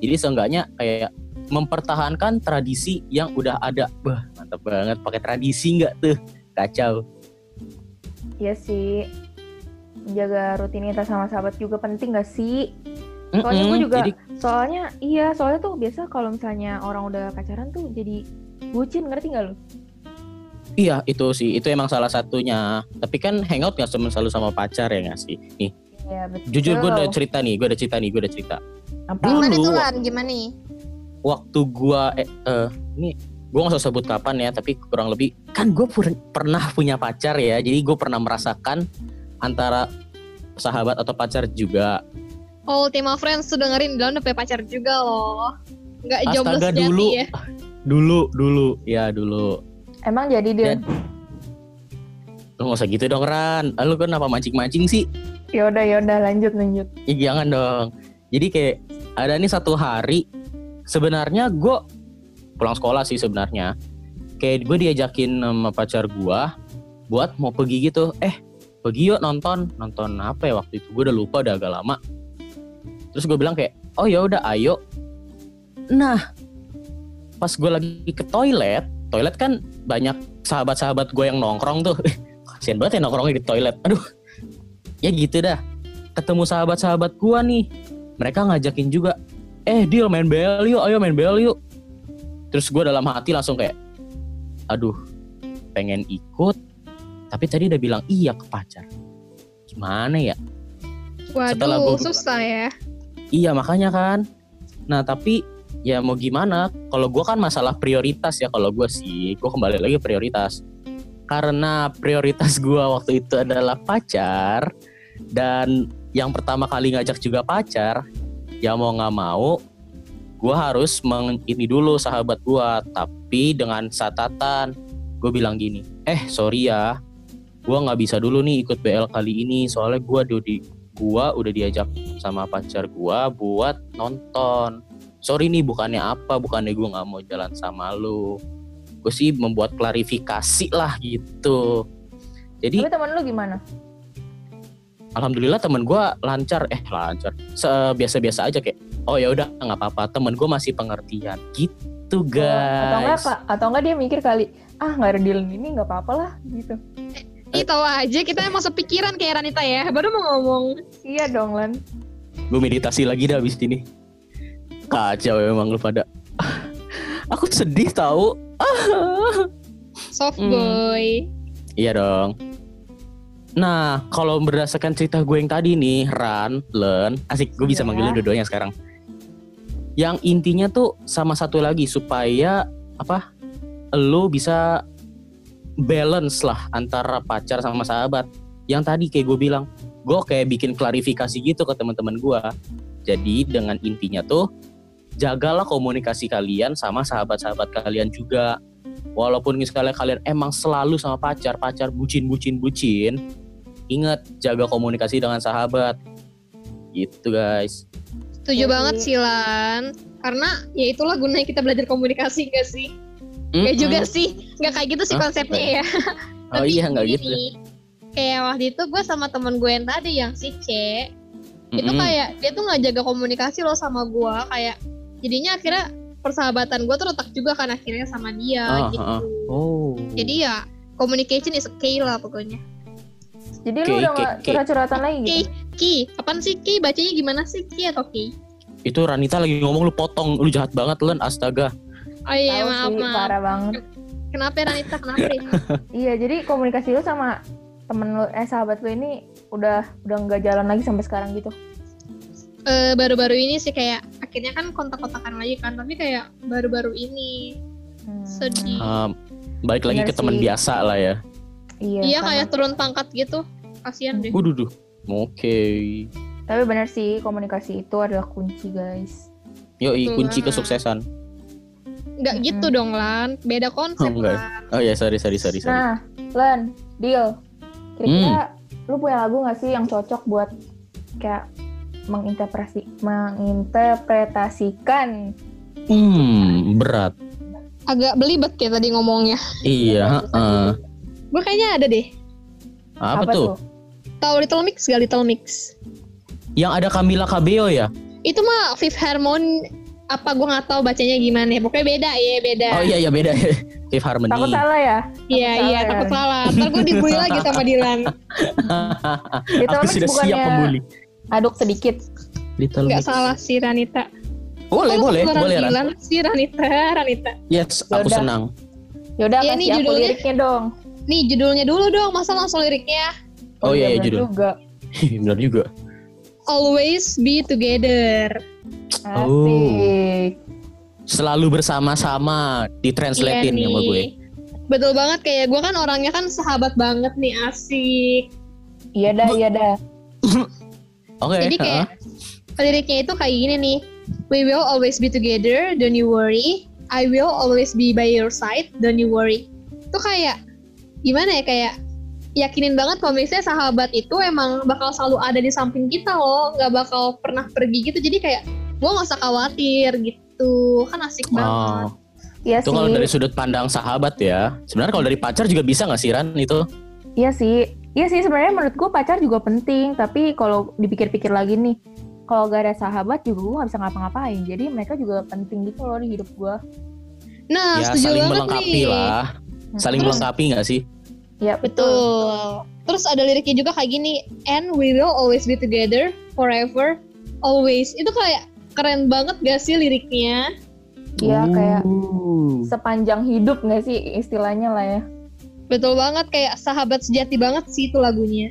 Speaker 2: Jadi seenggaknya kayak mempertahankan tradisi yang udah ada. Bah, mantap banget pakai tradisi nggak tuh? Kacau.
Speaker 4: Iya sih jaga rutinitas sama sahabat juga penting gak sih? Soalnya
Speaker 2: Mm-mm,
Speaker 4: gue juga
Speaker 2: jadi-
Speaker 4: soalnya iya soalnya tuh biasa kalau misalnya orang udah pacaran tuh jadi bucin ngerti nggak lu?
Speaker 2: iya itu sih, itu emang salah satunya. Tapi kan hangout nggak cuma selalu sama pacar ya nggak sih? Nih,
Speaker 4: Iya betul.
Speaker 2: jujur gue udah cerita nih, gue udah cerita nih, gue udah cerita.
Speaker 4: Apa?
Speaker 2: Dulu-
Speaker 3: Gimana tuh Lan? Gimana nih?
Speaker 2: Waktu gue eh, eh, ini gue nggak usah sebut kapan ya, tapi kurang lebih kan gue pernah punya pacar ya, jadi gue pernah merasakan antara sahabat atau pacar juga.
Speaker 3: Ultima Friends tuh dengerin Dilan udah punya pacar juga loh. Gak Eh, jomblo
Speaker 2: Astaga
Speaker 3: sejati
Speaker 2: dulu,
Speaker 3: ya.
Speaker 2: dulu, dulu, ya dulu.
Speaker 4: Emang jadi dia.
Speaker 2: Lu nggak usah gitu dong Ran. Ah, Lu kenapa mancing-mancing sih?
Speaker 4: Yaudah yaudah ya lanjut lanjut.
Speaker 2: Ih, jangan dong. Jadi kayak ada nih satu hari sebenarnya gue pulang sekolah sih sebenarnya. Kayak gue diajakin sama pacar gue buat mau pergi gitu. Eh pergi yuk nonton nonton apa ya waktu itu gue udah lupa udah agak lama. Terus gue bilang kayak oh ya udah ayo. Nah pas gue lagi ke toilet toilet kan banyak sahabat-sahabat gue yang nongkrong tuh. Kasian banget ya nongkrongnya di toilet. Aduh ya gitu dah ketemu sahabat-sahabat gua nih. Mereka ngajakin juga, eh deal main BL yuk, ayo main BL yuk. Terus gua dalam hati langsung kayak, aduh pengen ikut, tapi tadi udah bilang iya ke pacar. gimana ya Setelah
Speaker 3: Waduh,
Speaker 2: gua-
Speaker 3: susah ya.
Speaker 2: Iya makanya kan. Nah tapi ya mau gimana? Kalau gua kan masalah prioritas ya kalau gua sih, gua kembali lagi prioritas. Karena prioritas gua waktu itu adalah pacar dan yang pertama kali ngajak juga pacar, ya mau nggak mau, gua harus meng ini dulu sahabat gua. Tapi dengan catatan, gue bilang gini, eh sorry ya, gua nggak bisa dulu nih ikut BL kali ini soalnya gua udah di gua udah diajak sama pacar gua buat nonton. Sorry nih bukannya apa, bukannya gua nggak mau jalan sama lu. Gue sih membuat klarifikasi lah gitu. Jadi
Speaker 4: Tapi teman lu gimana?
Speaker 2: alhamdulillah temen gua lancar, eh lancar, Se- biasa-biasa aja kayak. Oh ya udah nggak apa-apa, temen gua masih pengertian gitu
Speaker 4: Atau enggak
Speaker 2: guys.
Speaker 4: apa? Atau enggak dia mikir kali, ah nggak ada deal ini nggak apa-apa lah gitu.
Speaker 3: Ih, tahu aja kita emang sepikiran kayak Ranita ya. Baru mau ngomong.
Speaker 4: Iya dong Lan.
Speaker 2: Gue meditasi lagi dah abis ini. Kacau emang lu pada. Aku sedih tahu.
Speaker 3: Soft
Speaker 2: Hmm.
Speaker 3: boy.
Speaker 2: Iya dong. Nah, kalau berdasarkan cerita gue yang tadi nih, Ran, Len, asik gue bisa
Speaker 4: Iya.
Speaker 2: manggilin dua-duanya sekarang. Yang intinya tuh sama satu lagi supaya apa? Lo bisa balance lah antara pacar sama sahabat. Yang tadi kayak gue bilang, gue kayak bikin klarifikasi gitu ke teman-teman gue. Jadi dengan intinya tuh jagalah komunikasi kalian sama sahabat-sahabat kalian juga walaupun misalnya kalian emang selalu sama pacar, pacar bucin, bucin, bucin, ingat jaga komunikasi dengan sahabat. Gitu guys.
Speaker 3: Setuju
Speaker 2: Iya.
Speaker 4: Jadi-
Speaker 3: banget sih Lan. Karena ya itulah gunanya kita belajar komunikasi gak sih? Ya
Speaker 2: Mm-mm.
Speaker 3: juga sih. Gak kayak gitu sih
Speaker 2: Hah?
Speaker 3: konsepnya ya.
Speaker 2: Oh
Speaker 3: Tapi
Speaker 2: iya nggak
Speaker 3: gini,
Speaker 2: gitu.
Speaker 3: Kayak waktu itu gue sama temen gue yang tadi yang si C. Itu
Speaker 2: Mm-mm.
Speaker 3: kayak dia tuh gak jaga komunikasi loh sama gue. Kayak jadinya akhirnya persahabatan gue terletak juga kan akhirnya sama dia
Speaker 2: Ah,
Speaker 3: gitu.
Speaker 2: ah, Oh.
Speaker 3: Jadi ya communication is a key lah pokoknya.
Speaker 4: Jadi
Speaker 2: Oke,
Speaker 4: lu udah
Speaker 2: oke,
Speaker 4: nggak
Speaker 2: oke.
Speaker 4: curhat-curhatan lagi
Speaker 3: Ki,
Speaker 4: gitu.
Speaker 3: Ki, apaan sih Ki? Bacanya gimana sih Ki atau Ki?
Speaker 2: itu Ranita lagi ngomong lu potong, lu jahat banget Len, astaga.
Speaker 3: Oh iya
Speaker 4: Tahu
Speaker 3: maaf
Speaker 4: sih,
Speaker 3: maaf.
Speaker 4: parah banget.
Speaker 3: Kenapa ya, Ranita? Kenapa? ya?
Speaker 4: Iya, jadi komunikasi lu sama temen lu eh sahabat lu ini udah udah nggak jalan lagi sampai sekarang gitu.
Speaker 3: Eh, baru-baru ini sih kayak akhirnya kan kontak-kontakan lagi kan, tapi kayak baru-baru ini.
Speaker 4: Hmm.
Speaker 3: Sedih.
Speaker 2: Um, balik lagi
Speaker 4: Bener
Speaker 2: ke teman
Speaker 4: sih.
Speaker 2: biasa lah ya.
Speaker 4: Iya,
Speaker 3: iya
Speaker 4: sama.
Speaker 3: kayak turun pangkat gitu. Kasihan deh.
Speaker 2: Waduh, duh. Oke.
Speaker 4: Tapi benar sih komunikasi itu adalah kunci, guys.
Speaker 2: Yoi,
Speaker 3: Betul
Speaker 2: kunci
Speaker 3: banget.
Speaker 2: kesuksesan.
Speaker 3: Nggak
Speaker 4: Mm-mm.
Speaker 3: gitu dong Lan, beda konsep
Speaker 2: Oh, enggak.
Speaker 3: Lan.
Speaker 2: Oh ya, sorry, sorry, sorry, sorry.
Speaker 4: Nah, Len, deal. Kira-kira
Speaker 2: Hmm.
Speaker 4: lu punya lagu nggak sih yang cocok buat kayak menginterpretasi menginterpretasikan
Speaker 2: Hmm, berat.
Speaker 3: Agak belibet
Speaker 2: ya
Speaker 3: kayak tadi ngomongnya.
Speaker 2: Iya, heeh.
Speaker 3: Gue kayaknya ada deh.
Speaker 2: Apa, tuh?
Speaker 3: Tahu Little Mix gak Little Mix?
Speaker 2: Yang ada Camila Cabello ya?
Speaker 3: Itu mah Fifth Harmon apa gue nggak tahu bacanya gimana ya pokoknya beda ya beda
Speaker 2: Oh iya iya beda. Fifth Harmony.
Speaker 4: Takut salah ya?
Speaker 3: Iya
Speaker 4: Takut
Speaker 3: iya
Speaker 4: salah,
Speaker 3: takut
Speaker 2: ya.
Speaker 4: Ren.
Speaker 3: salah. Ntar gue dibully lagi sama Dilan.
Speaker 4: Little
Speaker 2: Aku sudah
Speaker 4: Mix
Speaker 2: siap
Speaker 4: bukannya
Speaker 2: membuli.
Speaker 4: Aduk sedikit.
Speaker 2: Little
Speaker 3: Gak
Speaker 2: Mix.
Speaker 3: salah sih Ranita.
Speaker 2: Boleh,
Speaker 3: Kalau
Speaker 2: boleh,
Speaker 3: keluaran
Speaker 2: boleh. Ran.
Speaker 3: Dilan sih Ranita, Ranita.
Speaker 2: Yes, aku
Speaker 4: Yaudah.
Speaker 2: senang.
Speaker 4: Yaudah
Speaker 3: Iya,
Speaker 4: kasih
Speaker 3: nih
Speaker 4: aku
Speaker 3: judulnya.
Speaker 4: liriknya dong.
Speaker 3: Nih judulnya dulu dong, masa langsung liriknya?
Speaker 2: Oh iya, iya,
Speaker 4: bener
Speaker 2: judul.
Speaker 4: Juga.
Speaker 2: Benar juga.
Speaker 3: Always be together.
Speaker 2: Oh.
Speaker 4: Asik.
Speaker 2: Selalu bersama-sama ditranslatein
Speaker 3: Iya
Speaker 2: sama
Speaker 3: nih.
Speaker 2: gue.
Speaker 3: Betul banget kayak gue kan orangnya kan sahabat banget nih asik.
Speaker 2: Oh.
Speaker 4: Iya dah, iya dah.
Speaker 2: Oke.
Speaker 3: Jadi
Speaker 2: Eh, heeh.
Speaker 3: kayak liriknya itu kayak gini nih. We will always be together, don't you worry. I will always be by your side, don't you worry. Itu kayak gimana ya kayak yakinin banget kalau misalnya sahabat itu emang bakal selalu ada di samping kita loh, nggak bakal pernah pergi gitu. Jadi kayak gue nggak usah khawatir gitu, kan asik
Speaker 2: Oh,
Speaker 3: banget.
Speaker 4: Iya
Speaker 2: itu kalau
Speaker 4: sih.
Speaker 2: dari sudut pandang sahabat ya. Sebenarnya kalau dari pacar juga bisa nggak sih Ran itu?
Speaker 4: Iya sih, iya sih sebenarnya menurut gue pacar juga penting, tapi kalau dipikir-pikir lagi nih, kalau gak ada sahabat juga gue gak bisa ngapa-ngapain, jadi mereka juga penting gitu loh di hidup gue.
Speaker 3: Nah,
Speaker 2: ya
Speaker 3: setuju
Speaker 2: saling
Speaker 3: banget
Speaker 2: melengkapi
Speaker 3: nih.
Speaker 2: lah. Saling
Speaker 3: Terus-
Speaker 2: melengkapi nggak sih?
Speaker 4: Ya Hmm. betul.
Speaker 3: Betul. Terus ada liriknya juga kayak gini, and we will always be together forever, always. Itu kayak keren banget gak sih liriknya?
Speaker 4: Iya
Speaker 2: Uh.
Speaker 4: kayak
Speaker 2: Ooh.
Speaker 4: sepanjang hidup gak sih istilahnya lah ya.
Speaker 3: Betul banget kayak sahabat sejati banget sih itu lagunya.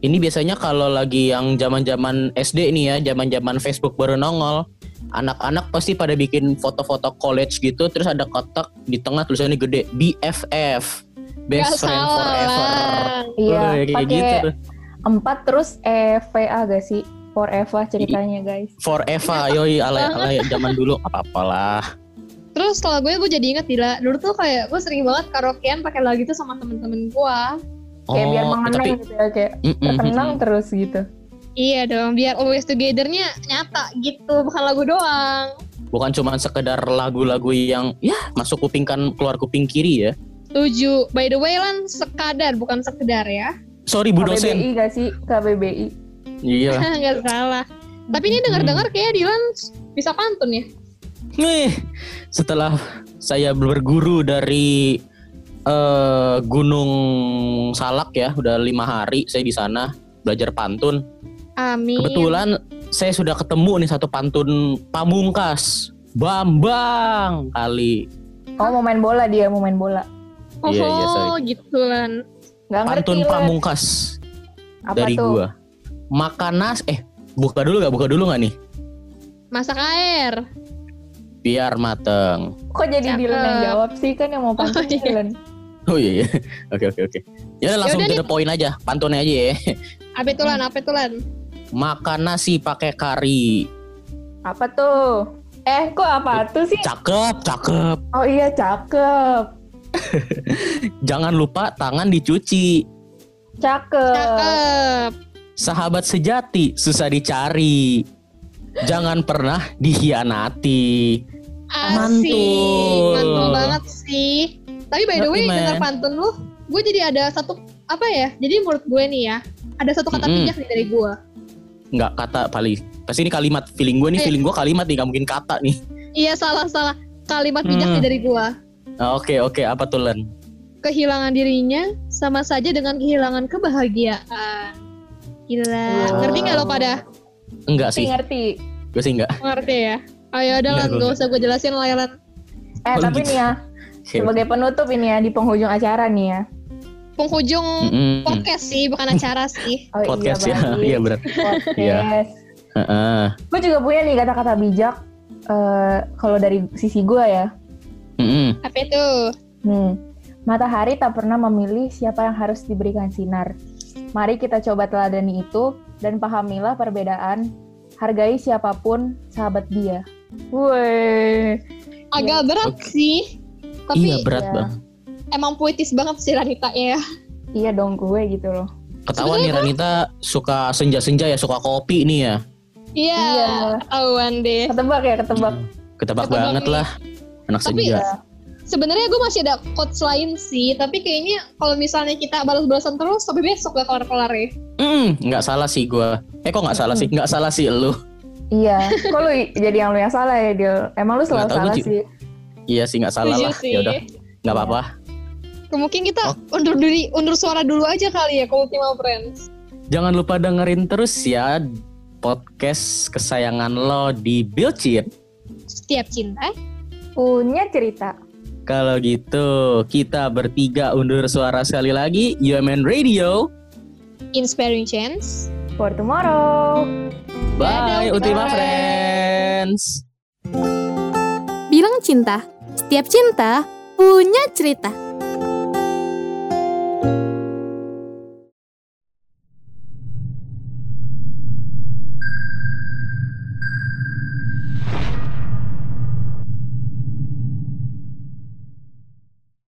Speaker 2: Ini biasanya kalau lagi yang zaman-zaman SD nih ya, zaman-zaman Facebook baru nongol, anak-anak pasti pada bikin foto-foto college gitu, terus ada kotak di tengah tulisannya gede BFF,
Speaker 3: Gak
Speaker 2: Best Friend
Speaker 3: salah
Speaker 2: Forever.
Speaker 3: lah.
Speaker 2: Wah,
Speaker 4: Iya,
Speaker 2: kayak
Speaker 4: pakai
Speaker 2: gitu.
Speaker 4: empat terus EVA gak sih? For Eva ceritanya guys.
Speaker 2: Forever,
Speaker 4: Iya,
Speaker 2: yoi alay alay zaman dulu apa-apalah.
Speaker 3: Terus kalau gue gue jadi inget Dila, dulu tuh kayak gue sering banget karaokean pakai lagu itu sama temen-temen gue.
Speaker 4: Kayak biar
Speaker 2: Oh, eh,
Speaker 4: mengenang
Speaker 2: tapi- Mhm,
Speaker 4: gitu ya, kayak
Speaker 2: Mm-mm.
Speaker 4: terkenang terus gitu.
Speaker 3: Iya dong, biar always together-nya nyata gitu, bukan lagu doang.
Speaker 2: Bukan cuma sekedar lagu-lagu yang ya masuk kuping kan keluar kuping kiri ya.
Speaker 3: Tujuh. By the way Lan, sekadar bukan sekedar ya.
Speaker 2: Sorry Bu dosen.
Speaker 4: KBBI gak sih? KBBI.
Speaker 2: Iya.
Speaker 3: Nggak salah. Tapi ini dengar-dengar
Speaker 2: Hmm.
Speaker 3: kayak Dilan bisa pantun ya.
Speaker 2: Nih, setelah saya berguru dari eh, Gunung Salak ya, udah lima hari saya di sana belajar pantun.
Speaker 4: Iya.
Speaker 3: Amin.
Speaker 2: Kebetulan saya sudah ketemu nih satu pantun pamungkas, Bambang kali.
Speaker 4: Oh mau main bola dia, mau main bola.
Speaker 3: Oh,
Speaker 2: Iya, iya, sorry.
Speaker 3: gitu Lan.
Speaker 4: Gak ngerti
Speaker 2: Pantun
Speaker 4: lah.
Speaker 2: pamungkas
Speaker 4: Apa
Speaker 2: dari
Speaker 4: tuh?
Speaker 2: gua. Makan nasi, eh buka dulu nggak buka dulu nggak nih?
Speaker 3: Masak air.
Speaker 2: Biar mateng.
Speaker 4: Kok
Speaker 3: Cakep.
Speaker 4: jadi Dylan yang jawab sih? Kan yang mau pantun
Speaker 3: Oh, iya.
Speaker 4: Dylan.
Speaker 2: Oh iya, iya. oke oke oke. Ya langsung
Speaker 3: Yaudah
Speaker 2: to the point aja, pantunnya aja ya.
Speaker 3: Apa itu
Speaker 2: Hmm.
Speaker 3: Lan? Apa itu Lan?
Speaker 2: Makan nasi pakai kari.
Speaker 4: Apa tuh? Eh kok apa tuh sih?
Speaker 2: Cakep, cakep.
Speaker 4: Oh iya cakep.
Speaker 2: Jangan lupa tangan dicuci.
Speaker 4: Cakep.
Speaker 3: Cakep.
Speaker 2: Sahabat sejati susah dicari. Jangan pernah dihianati.
Speaker 3: Asik.
Speaker 2: Mantul.
Speaker 3: Mantul banget sih. Tapi by the way,
Speaker 2: Ngerti, Man.
Speaker 3: denger pantun lu, gue jadi ada satu apa ya? Jadi menurut gue nih ya, ada satu kata
Speaker 2: Mm-mm.
Speaker 3: bijak nih dari gue.
Speaker 2: Nggak kata paling. Pasti ini kalimat feeling gue nih,
Speaker 3: Eh.
Speaker 2: feeling gue kalimat nih, nggak mungkin kata nih.
Speaker 3: Iya salah salah. Kalimat bijak
Speaker 2: Hmm.
Speaker 3: nih dari gue.
Speaker 2: Nah, Oke oke, apa tuh Len?
Speaker 3: Kehilangan dirinya sama saja dengan kehilangan kebahagiaan. Gila.
Speaker 4: Wow.
Speaker 3: Ngerti nggak lo pada?
Speaker 2: Enggak
Speaker 4: Ngerti,
Speaker 2: sih,
Speaker 3: Iya.
Speaker 4: ngerti.
Speaker 2: gue sih enggak.
Speaker 3: Ngerti ya? Ayo udah Lan,
Speaker 2: Nggak,
Speaker 3: gak usah gue jelasin lah ya Lan.
Speaker 4: Eh
Speaker 2: Kalau
Speaker 4: tapi
Speaker 2: gitu.
Speaker 4: nih ya,
Speaker 2: Oke.
Speaker 4: sebagai penutup ini ya di penghujung acara nih ya.
Speaker 3: Penghujung
Speaker 2: Mm-mm.
Speaker 3: podcast sih, bukan acara sih.
Speaker 4: Oh,
Speaker 2: Podcast ya,
Speaker 4: baik.
Speaker 2: iya benar. Iya.
Speaker 4: Podcast.
Speaker 2: Heeh.
Speaker 4: Gue juga punya nih kata-kata bijak. eh kalau dari sisi gue ya,
Speaker 2: Mm-mm.
Speaker 3: Apa itu?
Speaker 4: Hmm. Matahari tak pernah memilih siapa yang harus diberikan sinar. Mari kita coba teladani itu dan pahamilah perbedaan. Hargai siapapun sahabat dia. Woi.
Speaker 3: Agak berat sih. Tapi
Speaker 2: Iya berat
Speaker 4: ya.
Speaker 2: bang.
Speaker 3: emang puitis banget sih Ranita ya.
Speaker 4: Iya dong gue gitu loh.
Speaker 2: Ketawa nih Ranita suka senja-senja ya, suka kopi nih ya.
Speaker 3: Iya,
Speaker 4: Iya.
Speaker 3: ketahuan
Speaker 2: Eh.
Speaker 3: deh.
Speaker 4: Ketebak ya, ketebak.
Speaker 2: Ketebak
Speaker 3: Ketebak
Speaker 2: banget
Speaker 3: nih.
Speaker 2: lah, anak
Speaker 3: Tapi
Speaker 2: senja.
Speaker 3: sebenarnya gue masih ada quotes lain sih, tapi kayaknya kalau misalnya kita balas-balasan terus sampai besok gak kelar-kelar ya.
Speaker 2: Hmm, nggak salah sih gua. Eh kok nggak salah sih? Nggak salah sih lu.
Speaker 4: Iya. Kok lu jadi yang lu yang salah ya, Dil? Emang lu selalu
Speaker 2: Nggak tahu,
Speaker 4: salah
Speaker 2: Ci.
Speaker 4: sih.
Speaker 2: Iya sih nggak salah
Speaker 3: Setuju
Speaker 2: lah.
Speaker 3: sih.
Speaker 2: Ya udah, nggak
Speaker 4: Iya.
Speaker 2: apa-apa.
Speaker 3: Mungkin kita
Speaker 2: Oh.
Speaker 3: undur diri, undur suara dulu aja kali ya ke Ultima Friends.
Speaker 2: Jangan lupa dengerin terus ya podcast kesayangan lo di Bilcin.
Speaker 3: Setiap cinta.
Speaker 4: Punya cerita.
Speaker 2: Kalau gitu, kita bertiga undur suara sekali lagi. UMN Radio.
Speaker 3: Inspiring Chance.
Speaker 4: For tomorrow.
Speaker 2: Bye,
Speaker 3: Dadah,
Speaker 2: Ultima
Speaker 3: Ultima
Speaker 2: Friends.
Speaker 1: Bilang cinta, setiap cinta punya cerita.